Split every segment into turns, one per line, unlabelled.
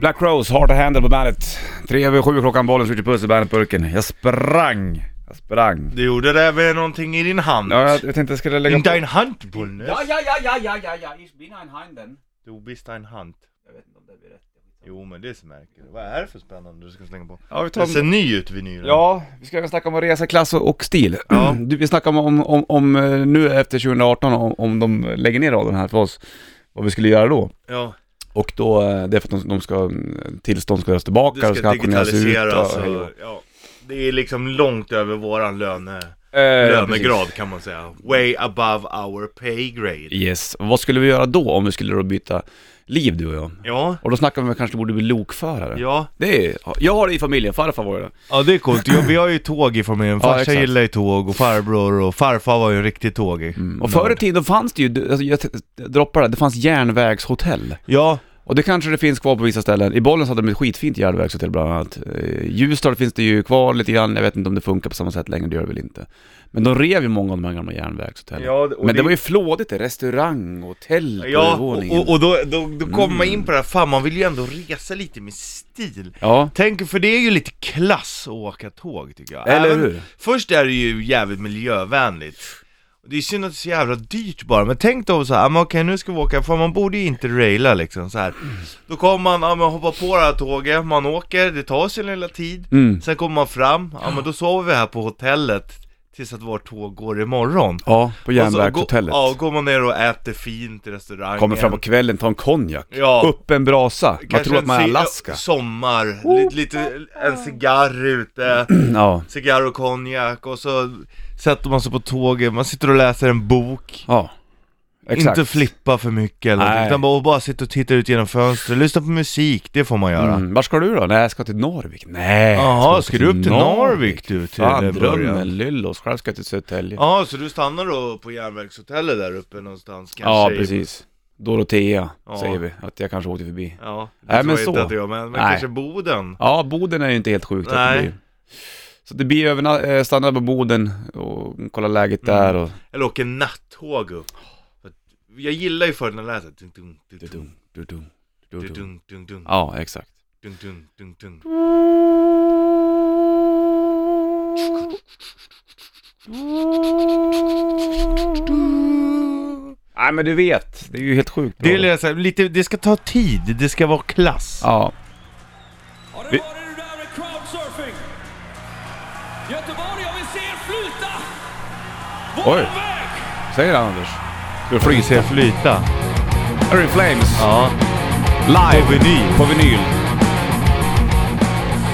Black Rose, Hard to Handle på bandet. Tre över sju klockan, bollen skjuter puss i bandetburken. Jag sprang, jag sprang.
Du gjorde det med någonting i din hand.
Ja, jag, jag tänkte jag skulle lägga
In
på...
dein Hand, Bundes.
Ja, ja, ja, ja, ja, ja, ja, ich bin ein Handen.
Du bist ein Hand.
Jag vet inte om det blir rätt.
Jo men det märker du. Vad är det för spännande du ska slänga på?
Ja, vi tar...
Den ser ny ut vinylen.
Ja, vi ska även snacka om att resa klass och, och stil.
Ja.
Du, vi snackade om, om, om, om eh, nu efter 2018, om, om de lägger ner radion här för oss, vad vi skulle göra då.
ja.
Och då, eh, det är för att de, de ska, mm, tillstånd ska göras tillbaka,
Det ska
auktioneras
digitaliseras
och-
och,
hej och-
ja. Det är liksom långt över våran löne,
Eh, ja, precis.
lönegrad kan man säga. Way above our pay grade.
Yes, vad skulle vi göra då om vi skulle då byta liv du och jag?
Ja,
Och då snackar vi om att vi kanske borde bli lokförare.
ja.
Det är, jag har det i familjen, farfar var ju det.
Ja det är coolt, Jo, vi har ju tåg i familjen,
Ja,
farsan
exakt.
gillar ju tåg och farbror och farfar var ju en riktig tågig
Och förr i tiden fanns det ju, alltså jag t- droppar det, det fanns järnvägshotell.
Ja,
Och det kanske det finns kvar på vissa ställen. I Bollnäs hade de ett skitfint järnvägshotell bland annat. Eh, Ljusdal finns det ju kvar lite grann, jag vet inte om det funkar på samma sätt längre, det gör det väl inte. Men de rev ju många av de här gamla järnvägshotellen.
Ja, och
Men det
det-
var ju flådigt det, restaurang och tält på
ja
övervåningen.
och, och då, då, då kommer man
Mm.
in på det här, fan man vill ju ändå resa lite med stil
Ja,
Tänk, för det är ju lite klass att åka tåg tycker jag
Eller hur?
Först är det ju jävligt miljövänligt Och Det är synd att det är så jävla dyrt bara, men tänk då så här, ah, men okej nu ska vi åka, för man borde ju inte raila liksom så här. Då kommer man, ja men hoppar på det här tåget, man åker, det tar sin lilla tid
Mm.
Sen kommer man fram, ja men då sover vi här på hotellet tills att vårt tåg går imorgon
ja på
Och så
järnvägshotellet.
Går, Alltså, ja, och går man ner och äter fint i restaurangen
Kommer fram på kvällen, tar en konjak.
Ja.
Upp en brasa. Man
Kanske
tror att
en
man är i
ci-
Alaska.
Sommar, lite, lite en cigarr ute,
Ja.
cigarr och konjak och så sätter man sig på tåget, man sitter och läser en bok
Ja. Exakt.
Inte flippa för mycket eller
Nej.
någonting, utan bara, bara sitta och titta ut genom fönstret, lyssna på musik, det får man göra
Mm. Var ska du då? Nej, jag ska till Norvik. Nej.
Jaha,
jag
ska du upp till Narvik du till
Fan,
en början?
drömmen Lyllos. Själv ska jag till Södertälje.
Ja, så du stannar då på järnvägshotellet där uppe någonstans kanske?
Ja, precis. Dorotea,
Ja.
säger vi. Att jag kanske åkte förbi.
Ja, det
Nej,
Nej,
men
men
så.
Inte att jag, men men
Nej.
kanske Boden?
Ja, Boden är ju inte helt sjukt att det
Nej.
blir. Så det blir överna- eh, stanna på Boden och kolla läget
Mm.
där och...
Eller åker nattåg upp? För att- Jag gillar ju förr när jag läser dun, dun, dun, dun,
Du-dum, du-dum,
dun,
du-dum.
dun, dun, dun,
Ja, exakt.
dun, dun, dun, dun.
Nej men du vet, det är ju helt sjukt bra.
Det, är lite så här, lite, det ska ta tid, det ska vara klass
Ja,
Ja, där har du det där med crowdsurfing. Göteborg, jag vill se er flyta! Vår
Oj.
väg!
säger han Anders. Ska du
Vi
flyga?
ser flyta
Harry Flames,
Ja,
live
på vinyl
på vinyl.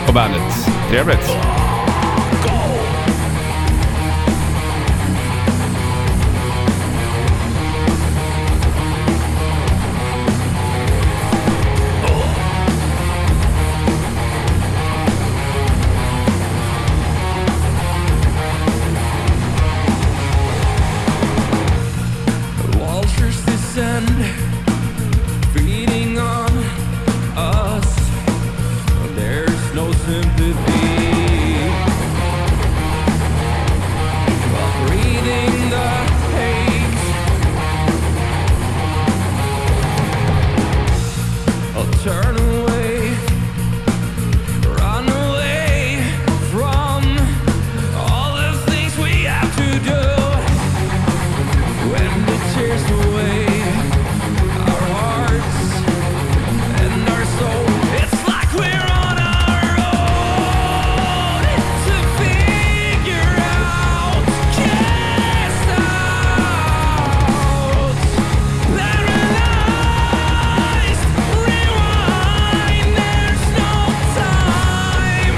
På bandet. Trevligt.
Vultures descend, feeding on us. There's no sympathy. I'm reading the hate. I'll turn away, run away from all the things we have to do. When the tears away our hearts and our soul, it's like we're on our own to figure out, cast out, paralyzed, rewind. There's no time.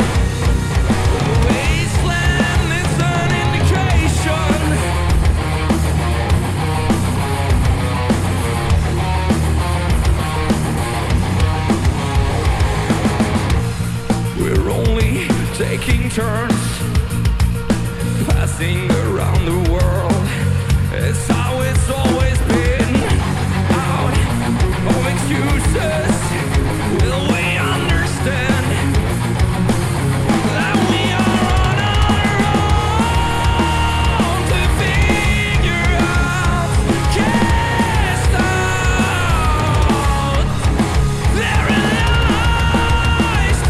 Wasteland is an indication. We're only taking turns, passing around the world. It's how it's always been. Out of excuses, will we understand that we are on our own to figure out, cast out, paralyzed?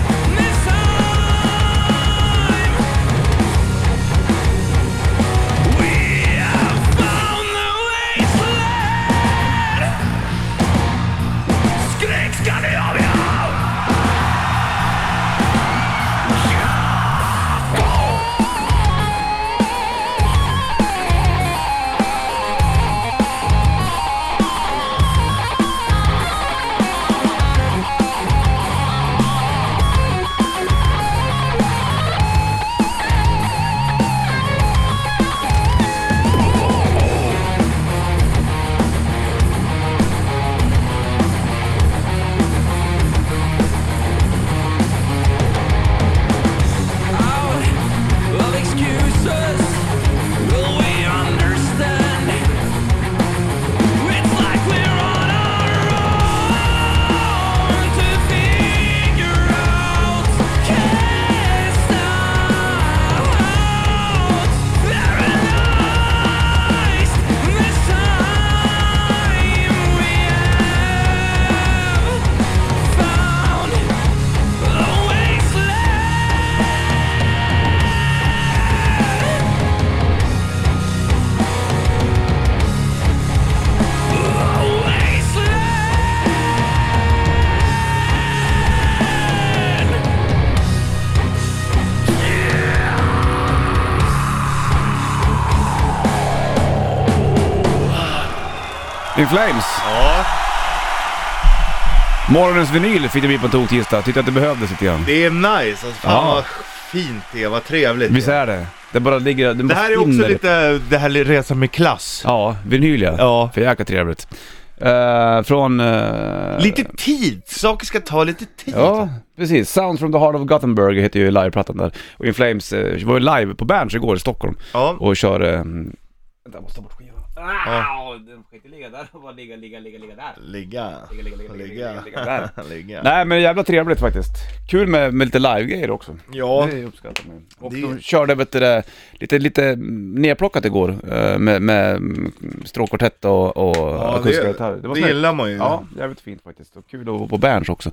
In Flames.
Ja,
Morgonens vinyl fick det bli på en tog-tisdag. Tyckte att det behövdes lite grann.
det är nice. Alltså, fan
Ja.
vad fint det är, vad trevligt.
Visst är det? Det bara ligger... Det,
Det här är
måste in där.
också lite, det här är resan med klass.
Ja, vinyl ja.
Ja.
För jäkla trevligt. Eh, från... eh,
Lite tid, saker ska ta lite tid.
Ja, precis. Sounds from the heart of Gothenburg heter ju liveplattan där. Och In Flames eh, var ju live på Berns igår i Stockholm
Ja.
och kör... Eh,
Ah, den ska inte ligga där och bara ligga, ligga, ligga, ligga där.
Ligga.
Ligga, ligga, ligga, ligga,
Ligga.
ligga, ligga.
där.
Ligga.
Nej men jävla trevligt faktiskt. Kul med, med lite live-grejer också.
Ja,
Det uppskattar man ju. Och
Det-
de körde vet du, det, lite, lite nerplockat igår eh, med, med mm, stråkkvartett och, och
ja
akustiska
det,
gitarrer. Det var
det
snyggt.
gillar man ju.
Ja, jävligt fint faktiskt. Och kul att vara på Berns också.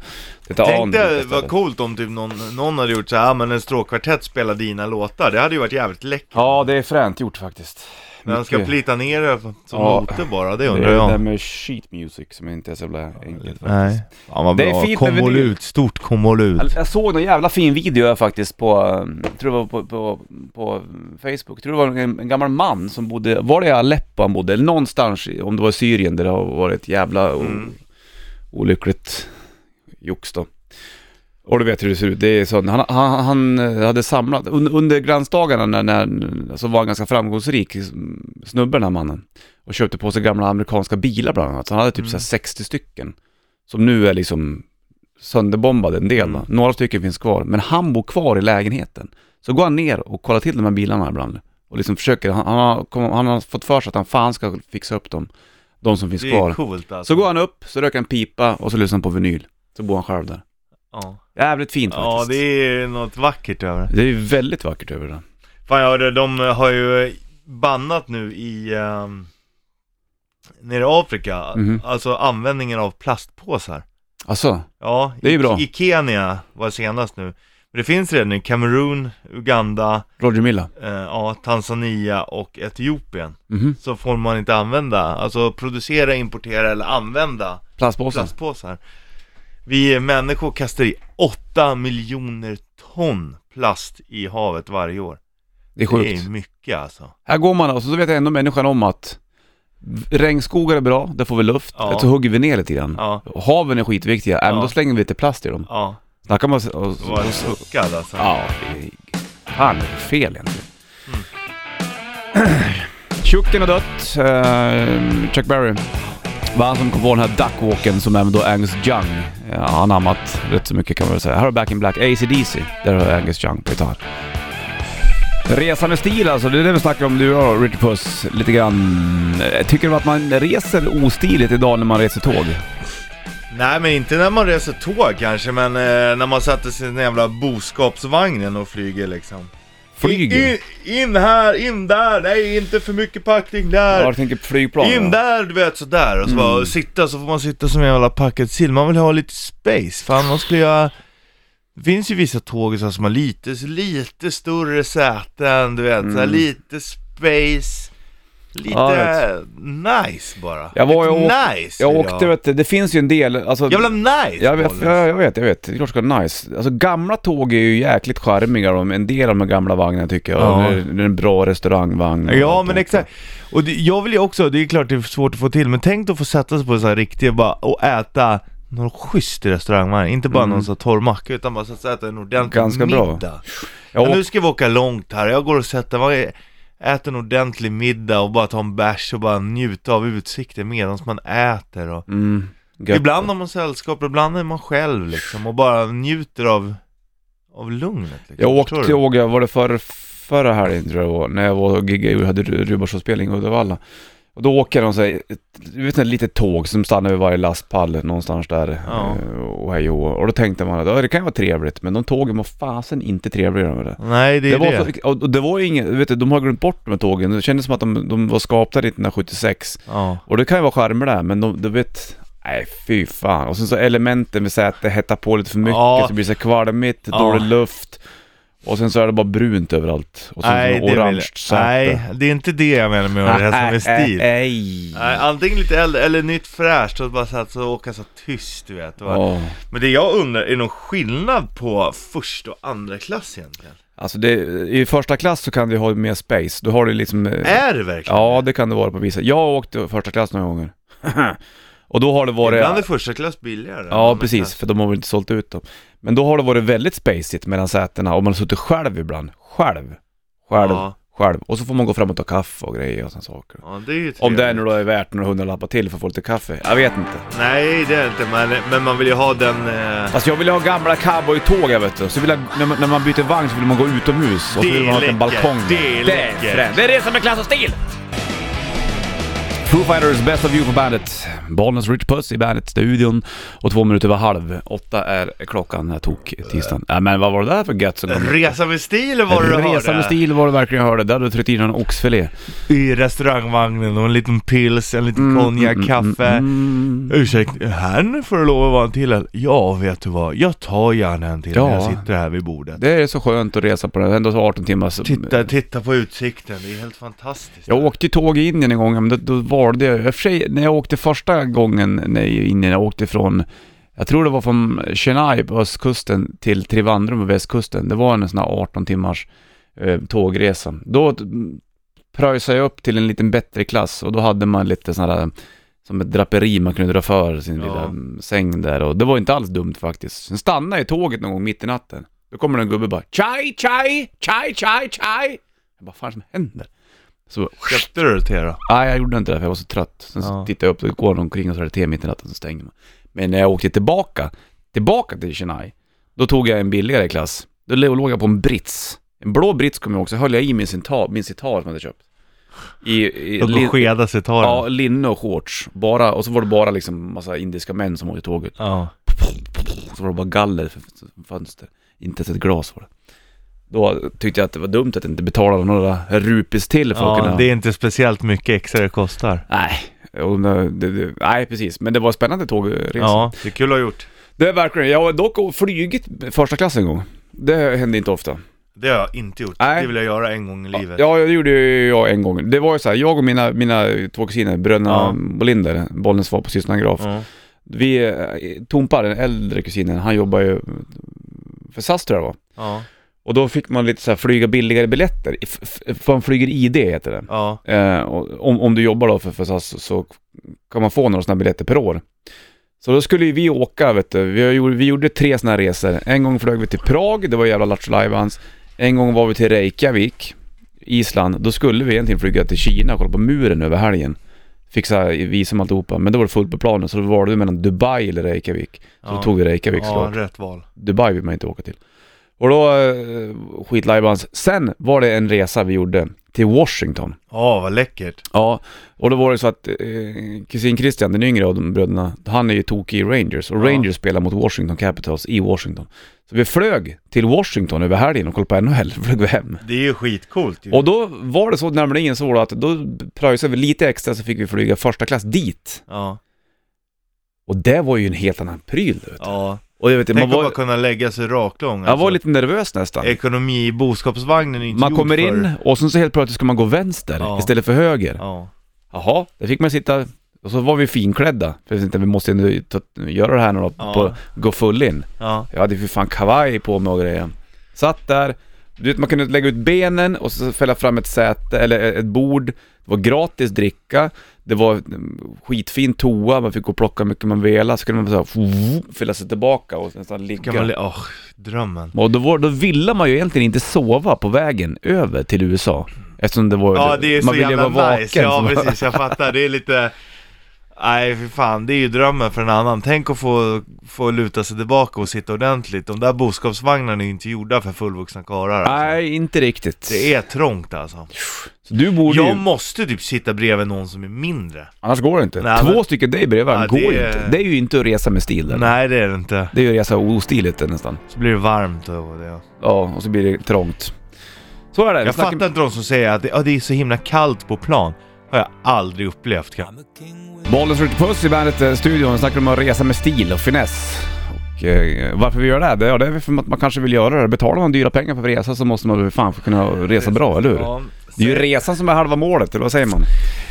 Detta
Tänk dig
anrika ställe.
vad coolt om typ någon, någon hade gjort så här, "Ah, men en stråkkvartett spelar dina låtar. Det hade ju varit jävligt läckert.
Ja, det är fränt gjort faktiskt.
Men han ska
Mycket.
plita ner det som
Ja.
noter bara, det
Det är
undrar
det där
jag.
med sheet music som inte är så jävla enkelt
Nej. Ja, vad
Det är
bra.
fint med vinyl.
konvolut, stort konvolut.
Alltså, Jag- Jag såg en jävla fin video här faktiskt på, eh, tror det var på, på, på Facebook, tror det var en, en gammal man som bodde, var det i Aleppo han bodde? Eller någonstans, i- om det var i Syrien där det har varit jävla o,
Mm.
olyckligt jox då. Och du vet hur det ser ut, det är sån, han, han, han eh, hade samlat, under, under glansdagarna när, när, så var han ganska framgångsrik, mm, snubben den här mannen. Och köpte på sig gamla amerikanska bilar bland annat, så han hade typ
Mm.
så här 60 stycken. Som nu är liksom sönderbombade en del. va.
Mm.
Några stycken finns kvar, men han bor kvar i lägenheten. Så går han ner och kollar till de här bilarna ibland. Och liksom försöker, han, han, har, kom- han har fått för sig att han fan ska fixa upp dem. De som finns
Det är
kvar.
coolt alltså.
Så går han upp, så röker han pipa och så lyssnar han på vinyl. Så bor han själv där.
Ja,
Jävligt fint
ja
faktiskt.
det är något vackert över det.
det... är ju väldigt vackert över det.
Fan jag hörde, de har ju bannat nu i um, Nere i Afrika,
Mhm.
alltså användningen av plastpåsar
Alltså,
Ja,
Det är ju
i-
bra.
i Kenya var senast nu Men det finns redan i Kamerun, Uganda,
Roger Milla.
eh, ja, Tanzania och Etiopien
Mhm.
Så får man inte använda, alltså producera, importera eller använda
Plastpåsen.
plastpåsar Vi människor kastar i 8 miljoner ton plast i havet varje år
Det är
Det
sjukt.
är mycket alltså
Här går man och så vet ändå människan om att regnskogar är bra, där får vi luft.
Ja.
Så hugger vi ner lite grann.
Ja,
Haven är skitviktiga, ja. men
Ja.
då slänger vi lite plast i dem.
ja
Där kan man... se- Och, och,
Det var
och,
suckad alltså.
ja, det är- fan det är fel egentligen. Mm. Tjucken har dött, eh, Chuck Berry. var han som kom på den här duckwalken som även då Angus Young ja, har anammat rätt så mycket kan man väl säga. Här har Back in Black, AC/DC där har Angus Young på gitarr. Resande stil alltså, det är det vi snackar om du och jag, Richard Puss, lite grann. Eh, Tycker du att man reser ostiligt idag när man reser tåg?
Nej men inte när man reser tåg kanske, men eh, när man sätter sig i den jävla boskapsvagnen och flyger liksom.
Flyg?
In, in här, in där, nej inte för mycket packning där.
Ja, du tänker flygplan?
in
ja.
där, du vet sådär. Och så
Mm.
bara sitta, så får man sitta som en jävla packad sill. Man vill ha lite space, fan man skulle göra... Det finns ju vissa tåg så här som har lite, lite större säten, du vet, så här, lite space. Lite
Mm. Ja,
nice bara.
Jag var ju
lite
åk-
nice
Jag
vill
åkte vet du, det finns ju en del, alltså...
Jävla nice
jag vet,
Bollnäs.
jag, jag vet, jag vet. Det är klart det ska vara nice. Alltså gamla tåg är ju jäkligt charmiga de, en del av de gamla vagnarna tycker jag.
Ja.
Det, är, det är en bra restaurangvagn. och
Ja
allt
men
det.
exakt, och det, jag vill ju också, det är klart det är svårt att få till, men tänk då att få sätta sig på en sån här riktig bara, och äta någon schysst restaurangvagn, inte bara någon sån här torr macka utan bara så att äta en ordentlig
Mm. Ganska bra.
middag
Jag
Men
åkte,
Nu ska vi åka långt här, jag går och sätter mig, äter en ordentlig middag och bara tar en bärs och bara njuta av utsikten medan man äter och
mm, gött.
Ibland har man sällskap, ibland är man själv liksom och bara njuter av, av lugnet liksom.
jag åkte
Förstår du?
tåg, jag var det för, förra helgen tror jag det var, när jag var och giggade och hade Ru- Rubarsåspelning i Uddevalla. Och då åker de så här, ett- du vet ett litet tåg som stannar vid varje lastpall någonstans där.
Ja.
eh, Och hej och hå. Och då tänkte man att "Ja, det kan ju vara trevligt, men de tågen var fasen inte trevliga med det.
Nej det är
Det
det,
var, så, och och det var ju inget, vet du, de har glömt bort de här tågen. Det kändes som att de, de var skapta 1976.
Ja.
Och det kan ju vara charmer där, men de, du vet... Nej, fy fan. Och sen så elementen med sätet hettar på lite för mycket,
Ja.
så det blir så kvalmigt,
Ja.
dålig luft. Och sen så är det bara brunt överallt. Och sen så
det
orange
vill-
säte.
Nej, det är inte det jag menar med att resa med stil.
Nej.
Nej, antingen lite äldre eller nytt fräscht och bara så att så åka så tyst du vet. va?
Ja.
Men det jag undrar, är det någon skillnad på första och andra klass egentligen?
Alltså det, i första klass så kan du ha mer space. Du har det liksom... eh,
Är det verkligen?
Ja, det kan det vara på vissa. Jag har åkt första klass några gånger. och då har det varit...
Ibland är första klass billigare. än
Ja,
andra
precis,
klass.
för de har väl inte sålt ut dem. Men då har det varit väldigt spacigt mellan sätena och man har suttit själv ibland. Själv. Själv.
Ja.
Själv. Och så får man gå fram och ta kaffe och grejer och sådana saker.
Ja, det är ju
Om det
trevligt.
nu då är värt några hundralappar till för att få lite kaffe. Jag vet inte.
Nej, det är inte, men, men man vill ju ha den... Eh,
Fast Alltså, jag vill ha gamla cowboytåg jag vet du. Så vill jag, när, man, när man byter vagn så vill man gå utomhus och så
Det är
vill man ha en
läckert.
balkong.
Det är läckert.
fränt. Det är resa med klass och stil! Foo Fighters, Best of You på bandet. Bollnäs Rich Puss i bandet-studion. Och två minuter över halv åtta är klockan den här tok-tisdagen. Ja, men vad var det där för gött som kom?
resa med stil var det du
Resa med
hörde.
stil var det verkligen jag hörde. Där hade du tryckt in en oxfilé.
I restaurangvagnen och en liten pils, en liten konjak, kaffe.
Mm.
Ursäkta, här nu får du lov att vara en till öl. Ja, vet du vad? Jag tar gärna en till när
Ja.
jag sitter här vid bordet.
Det är så skönt att resa på det. Ändå så 18 timmars...
Titta, titta på utsikten, det är helt fantastiskt.
Jag åkte ju tåg i Indien en gång, men då, då valde jag, i och för sig, när jag åkte första gången när jag i Indien, jag åkte från, jag tror det var från Chennai på östkusten till Trivandrum på västkusten, det var en sån här 18 timmars eh, tågresa. Då mm, pröjsade jag upp till en liten bättre klass och då hade man lite sån här, som ett draperi man kunde dra för sin
Ja.
lilla mm, säng där och det var inte alls dumt faktiskt. Sen stannade jag i tåget någon gång mitt i natten. Då kommer en gubbe och bara chai, chai, chai, chai, chai. Jag bara, fan som händer? Så
Köpte du det till er då?
Nej, jag gjorde inte det för jag var så trött. Sen så
Ja.
tittade jag upp, då går de omkring och så är det te mitt i natten, så stänger man. Men när jag åkte tillbaka, tillbaka till Chennai, då tog jag en billigare klass. Då låg jag på en brits. En blå brits kom jag också, höll jag i min citar, min citar som jag hade köpt. I, i
Låt
lin-
mig skeda sitaren.
ja,
Ja.
linne och shorts. Bara, och så var det bara liksom massa indiska män som åkte tåget.
ja.
Och så var det bara galler för för fönster. Inte ens ett glas var det. Då tyckte jag att det var dumt att inte betala några rupis till för att kunna...
det är inte speciellt mycket extra det kostar.
Nej, och nu- det, det, nej precis. Men det var spännande tågresa.
Ja, det är kul att ha gjort.
Det är verkligen. Jag har dock flugit första klass en gång. Det hände inte ofta.
Det har jag inte gjort.
Nej.
Det vill jag göra en gång i livet.
Ja, det gjorde ju jag en gång. Det var ju så här, jag och mina, mina två kusiner, bröderna
Ja.
Bolinder, Bollnäs var på Systrarna Graf.
Ja.
Vi, eh, Tompa, den äldre kusinen, han jobbar ju för SAS tror jag det var.
Ja.
Och då fick man lite så här flyga billigare biljetter. F- f- För man flyger ID heter det.
ja.
Eh, och om, om du jobbar då för, för SAS så, så kan man få några sådana biljetter per år. Så då skulle ju vi åka, vet du. Vi, gjorde, vi gjorde tre sådana här resor. En gång flög vi till Prag, det var jävla lattjo Lajbans. En gång var vi till Reykjavik, Island. Då skulle vi egentligen flyga till Kina och kolla på muren över helgen. Fixa visum och alltihopa, men då var det fullt på planen. Så då valde vi mellan Dubai eller Reykjavik. Så då
Ja.
tog vi Reykjavik såklart.
Ja, rätt val.
Dubai vill man inte åka till. Och då, eh, skitlajbans. Sen var det en resa vi gjorde till Washington.
Ja, vad läckert.
Ja, och då var det så att eh, kusin Christian, den yngre av de bröderna, han är ju tokig i Rangers och
Ja.
Rangers spelar mot Washington Capitals i Washington. Så vi flög till Washington över helgen och kollade på NHL, flög vi hem.
Det är ju skitcoolt ju.
Och då var det så nämligen så då att då pröjsade vi lite extra så fick vi flyga första klass dit.
Ja.
Och det var ju en helt annan pryl du vet.
ja.
Och jag vet inte,
Tänk
man
att alltså.
var,
bara kunna lägga sig raklång.
jag var lite nervös nästan.
Ekonomi i boskapsvagnen är inte
Man
gjord
kommer
för-
in och sen så helt plötsligt ska man gå vänster
Ja.
istället för höger.
Ja.
Jaha, där fick man sitta och så var vi finklädda. För jag tänkte, vi måste ändå ta, göra det här nu då,
Ja.
på, gå full in.
Ja.
Jag hade ju för fan kavaj på mig och grejer. Satt där, du vet man kunde lägga ut benen och så fälla fram ett säte eller ett bord. Det var gratis dricka, det var mm, skitfin toa, man fick gå och plocka hur mycket man ville. Så kunde man bara så här, fylla sig tillbaka och nästan ligga.
Kan man... Åh, drömmen.
Och då, var, då ville man ju egentligen inte sova på vägen över till USA. Eftersom det var...
Ja, det är
man
så
ville
jävla
vara
nice.
vaken, så
Ja,
man-
precis. Jag fattar. Det är lite... Nej, för fan. Det är ju drömmen för en annan. Tänk att få, få luta sig tillbaka och sitta ordentligt. De där boskapsvagnarna är ju inte gjorda för fullvuxna karlar. alltså.
Nej, inte riktigt.
Det är trångt alltså.
Så du borde ju...
Jag måste typ sitta bredvid någon som är mindre.
Annars går det inte.
Nej,
Två
men-
stycken dig bredvid varandra
Ja,
går
det
ju
är-
inte. Det är ju inte att resa med stil där.
Nej, det är det inte.
Det är ju att resa ostiligt det nästan.
Så blir det varmt och det.
Ja, och så blir det trångt. Så är det. Vi
Jag
snackar-
fattar inte de som säger att det, ja, det är så himla kallt på plan. Har jag aldrig upplevt. kan-
Bollen slår till puss i bandet eh, studion. Vi snackar om att resa med stil och finess. Och, eh, varför vi gör det? här, det- Ja, det är väl för att man kanske vill göra det. Betalar man dyra pengar för att resa så måste man väl fan för kunna resa bra, eller hur?
Ja,
Det är ju resan som är halva målet, eller vad säger man?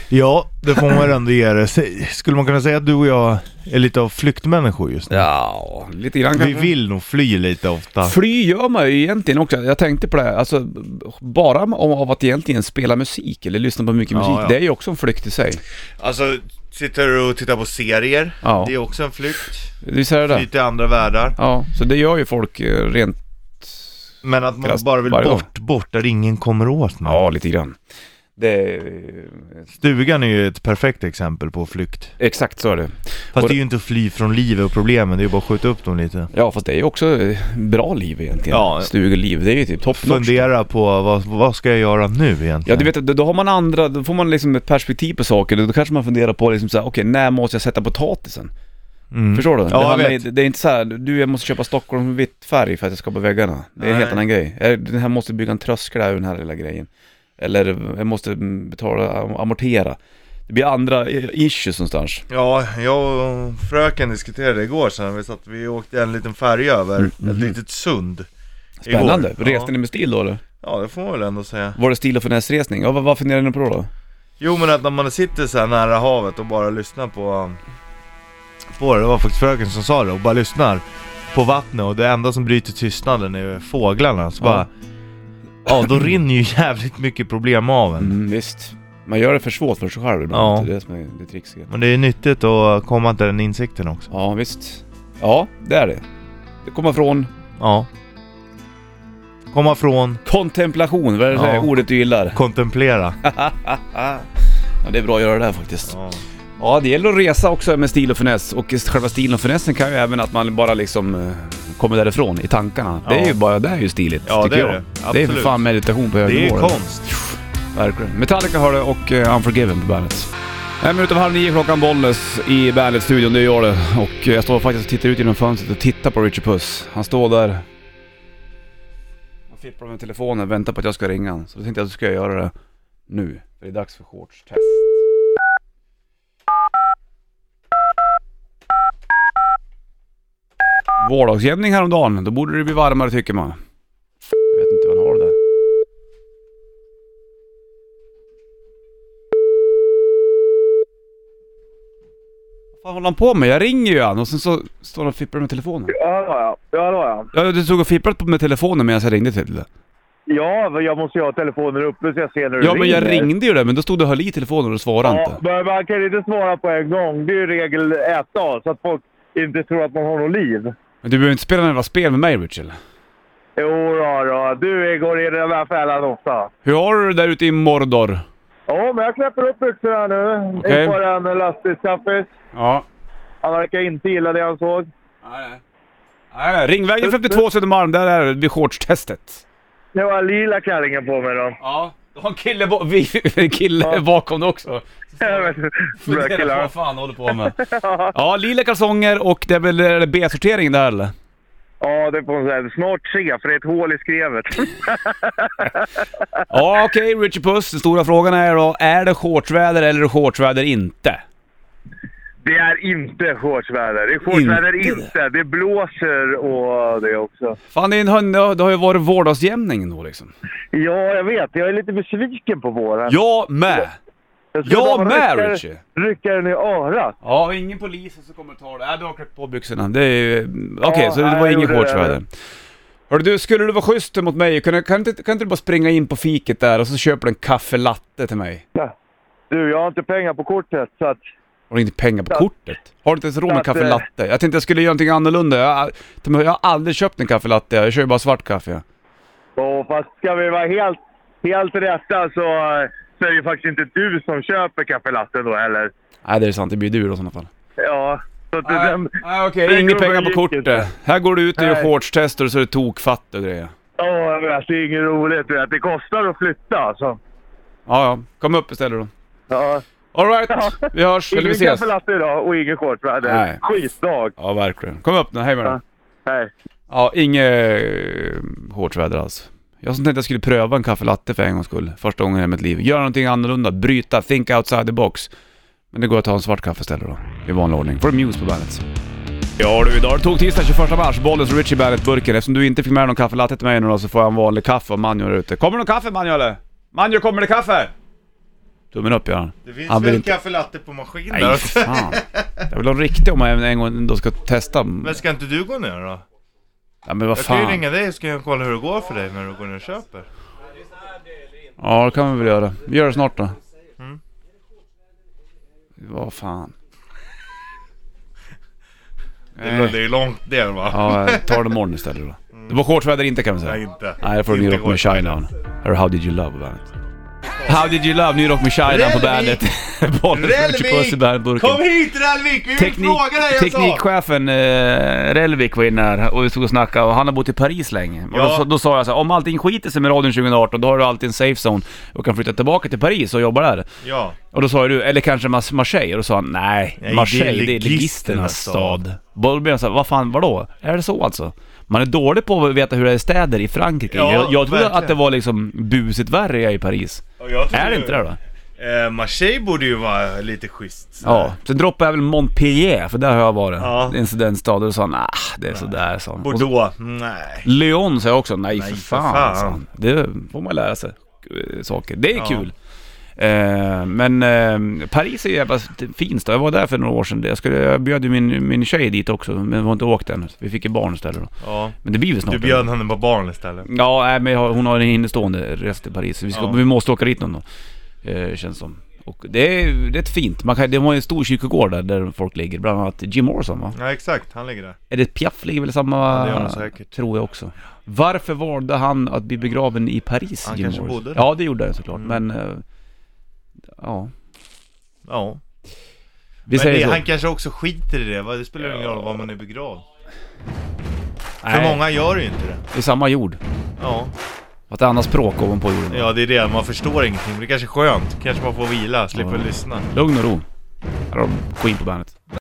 Ja, det får man ändå ge det. Se- Skulle man kunna säga att du och jag är lite av flyktmänniskor just nu?
Ja, lite grann
Vi vill nog fly lite ofta.
Fly gör man ju egentligen också. Jag tänkte på det, här. alltså bara om- av att egentligen spela musik eller lyssna på mycket
Ja,
musik,
ja.
det är ju också en flykt i sig.
Alltså, sitter du och tittar på serier?
Ja.
Det är också en flykt.
Visst är det
Fly
det?
till andra världar.
Ja, så det gör ju folk eh, rent,
Men att man
Krast
bara vill
varje gång.
bort, bort där ingen kommer åt mig.
ja lite grann. Det är, eh,
Stugan är ju ett perfekt exempel på flykt.
exakt så är det.
Fast
Och-
det är ju inte att fly från livet och problemen, det är ju bara att skjuta upp dem lite.
Ja fast det är ju också eh, bra liv egentligen.
Ja.
Stugeliv, det är ju typ toppnotch.
Fundera på vad, vad ska jag göra nu egentligen?
Ja du vet, då då har man andra, då får man liksom ett perspektiv på saker. Då kanske man funderar på liksom såhär, okej när måste jag sätta potatisen?
Mm.
Förstår du?
jag
det, handlar,
vet.
inte- det är inte så här, du jag måste köpa Stockholm vitt färg för att jag ska på väggarna. Det är en
Nej.
helt annan grej. Jag- Den här måste bygga en tröskel här ur den här lilla grejen. Eller jag måste mm, betala, am- amortera. Det blir andra eh, issues någonstans.
Ja, jag och fröken diskuterade igår sen. Vi, satt, vi åkte en liten färja över ett litet sund. igår.
Mm, mhm. Spännande. Reste
Ja.
ni med stil då eller?
ja, det får man väl ändå säga.
Var det stil och finessresning? Ja, vad, vad funderar ni på då?
Jo, men att när man sitter så här nära havet och bara lyssnar på, på det. Det var faktiskt fröken som sa det och bara lyssnar på vattnet och det enda som bryter tystnaden är fåglarna.
Ja.
Så bara, ja då rinner ju jävligt mycket problem av en.
Mm, visst. Man gör det för svårt för sig själv ibland.
Ja.
Det är det som är det trixiga.
Men det är nyttigt att komma till den insikten också.
Ja, visst. Ja, det är det. Det kommer från
Ja. Komma från,
kontemplation, vad är det
Ja.
ordet du gillar?
kontemplera.
Alltså, Ja, det är bra att göra det här faktiskt.
Ja.
Ja, det gäller att resa också med stil och finess. Och själva stilen och finessen kan ju även att man bara liksom eh, kommer därifrån i tankarna. Det är
Ja.
ju bara, det är ju stiligt,
Ja,
tycker
det är
jag.
det.
Det är för
Absolut.
fan meditation på hög
Det är ju
nivå. det.
konst.
Verkligen. Metallica har det och eh, Unforgiven på bandet. En minut över halv nio klockan Bollnäs i Bandet-studion, det gör det. Och eh, jag står faktiskt och tittar ut genom fönstret och tittar på Richard Puss. Han står där och fipplar med telefonen och väntar på att jag ska ringa honom. Så då tänkte jag att då ska jag göra det nu. För det är dags för shortstest. Vårdagsjämning häromdagen, då borde det bli varmare tycker man. Jag vet inte vad han har det där. Vad fan håller han på med? Jag ringer ju han och sen så står han och fipplar med telefonen.
Ja, då ja. Ja, då ja.
Ja, du stod och fipplade på- med telefonen medan jag ringde till dig.
ja, men jag måste ju ha telefonen uppe så jag ser när du
Ja, men jag
ringer.
ringde ju det, men då stod du och höll i telefonen och svarade
Ja,
inte.
men man kan ju inte svara på en gång. Det är ju regel 1A, så att folk inte tror att man har något liv.
Men du behöver inte spela några spel med mig, Richard.
Jo, då, då. du går i den där fällan ofta.
Hur har du det där ute i Mordor?
Ja, men jag knäpper upp byxorna nu.
Okej.
In på den lastbilschaffis.
Ja.
Han verkar inte gilla det han såg.
Nej, nej. Ringvägen 52 Södermalm, där är det vid shortstestet.
Nu har jag lila klänningen på mig då.
Ja. Du har en kille, bo- vi- en kille bakom dig också.
Jag vet inte. Bra
Funderar på
killar.
vad fan du håller på med. Ja, lila kalsonger och det är väl är det B-sortering där eller?
Ja, det får man säga. Snart se, för det är ett hål i skrevet.
Ja okej, Richard Puss. Den stora frågan är då, är det shortsväder eller är det shortsväder inte?
Det är inte shortsväder. Det är shortsväder inte. Det blåser och det också.
Fan, det, är en, hund- det har ju varit vårdagsjämning då liksom.
Ja, jag vet. Jag är lite besviken på våren.
Jag med!
skulle
jag
bara
med,
rycka-
Richie.
Rycka den i örat.
Ja, och ingen polis som kommer ta det. Nej, du har klippt på byxorna. Det är ju... Okej,
Ja,
så det
nej,
var
jag
ingen
gjorde
shortsväder. Hörru du, skulle du vara schysst mot mig, kan, kan, inte, kan inte du bara springa in på fiket där och så köper du en kaffelatte till mig?
Du, jag har inte pengar på kortet så att...
Har du inte pengar på
Ja.
kortet? Har du inte ens råd med en
Så att, eh,
kaffelatte? Jag tänkte jag skulle göra någonting annorlunda. Jag, jag har aldrig köpt en kaffelatte, jag kör ju bara svart kaffe.
Åh, fast ska vi vara helt, helt rätta så, eh, så är det ju faktiskt inte du som köper kaffelatte då heller.
Nej, det är sant. Det blir du då i sådana fall.
Ja, så att
Nej,
den...
nej, okej,
den
inga
gubben
pengar på
gick
kortet.
inte.
Här går du ut och gör
Nej.
shortstester och så är det tokfatt och grejer.
Ja, jag vet. Det är inget roligt. Vet. Det kostar att flytta alltså.
Ja, ja. Kom upp istället då.
Ja.
Alright, vi hörs, eller vi
Ingen
ses.
kaffelatte idag och ingen shortsväder.
Nej.
Skitdag.
Ja, verkligen. Kom upp nu, hej med dig.
Ja. Nej.
Ja, inget eh, hårt väder alls. Jag som tänkte att jag skulle pröva en kaffelatte för en gångs skull. Första gången i mitt liv. Göra någonting annorlunda, bryta, think outside the box. Men det går att ta en svart kaffe istället då, i vanlig ordning. Får du Muse på bandet. Ja du, idag är det tog tisdag 21 mars. Bollens Richie Bandet-burken. Eftersom du inte fick med dig någon kaffelatte till mig nu då, så får jag en vanlig kaffe av Manjo där ute. Kommer det någon kaffe Manjo eller? Manjo, kommer det kaffe? Tummen upp Göran.
Det finns
Han vill
väl
inte-
kaffe latte på maskin
Nej,
där
för fan. Jag vill ha en riktig om jag en gång ändå ska testa.
Men ska inte du gå ner då?
Ja, men vad
Jag kan ju
fan.
ringa dig så kan jag kolla hur det går för dig när du går ner och köper.
Ja, det kan vi väl göra. Vi gör det snart då.
Mm.
Vad fan.
Det är, det är långt ner va?
Ja, jag tar det imorgon istället då. Det var shortsväder inte kan vi säga.
Mm. Nej, inte.
Nej, jag får du ny
Inte
rock med
shorts.
Shinedown. Här är How Did You Love på bandet. How Did You Love, ny rock med Shinedown på
Relvik!
bandet. Bollen skjuts puss i
Relvik!
bandburken.
Kom hit Relvik! Vi vill
Teknik,
fråga dig jag sa!
teknikchefen eh, Relvik var inne här och vi stod och snackade och han har bott i Paris länge. Och
Ja.
då, då sa jag så här, om allting skiter sig med radion 2018 då har du alltid en safe zone och kan flytta tillbaka till Paris och jobba där.
Ja,
Och då sa ju du, eller kanske Mas- Marseille? Och då sa han, nej,
Nej, det är
Marseille det är
ligisternas
ligisternas stad. Då blev jag såhär, vad fan vadå? Är det så alltså? Man är dålig på att veta hur det är i städer i Frankrike.
Ja,
jag jag trodde
verkligen.
att det var liksom busigt värre i Paris.
och jag tror
Är det
ju-
inte det då?
Eh, Marseille borde ju vara lite schysst.
Ja. Sen droppade jag väl Montpellier, för där har jag varit.
Ja.
Det är en- det är en stad. Och då sa han, ah, det är sådär sa han. Och så-
Bordeaux, nej.
Lyon sa jag också, nej, för fan.
fan.
sa han. Det får man lära sig eh, saker. Det är
Ja.
kul. Eh, men eh, Paris är ju jävla fint då. Jag var där för några år sedan. Jag, skulle, jag bjöd ju min, min tjej dit också, men vi har inte åkt än. Vi fick ju barn istället då.
Ja.
Men det blir väl snart.
Du bjöd henne på barn istället.
Ja, nej, men jag, har- hon har en innestående resa till Paris. Vi, ska,
Ja.
vi måste åka dit någon dag, eh, känns som. Och det är rätt fint. Man kan, de har ju en stor kyrkogård där, där folk ligger. Bland annat Jim Morrison va?
Ja exakt, han ligger där.
Är det Piaf ligger väl i samma...
Ja, det gör han säkert.
Tror jag också. Varför valde han att bli begraven i Paris?
Han
Jim
kanske
Morrison?
bodde där. Mm.
Ja, det gjorde han såklart. Men... eh, ja.
Ja.
Vi
Men
säger
det,
så.
han kanske också skiter i det, va? det spelar ingen roll var man är begravd. För
Nej,
många gör ju inte det.
det är samma jord.
Ja.
Att det är annat språk ovanpå jorden.
ja, det är det. Man förstår ingenting. Men det kanske är skönt. Kanske man får vila, slipper
Ja.
lyssna.
Lugn och ro. Här har de Queen på bandet.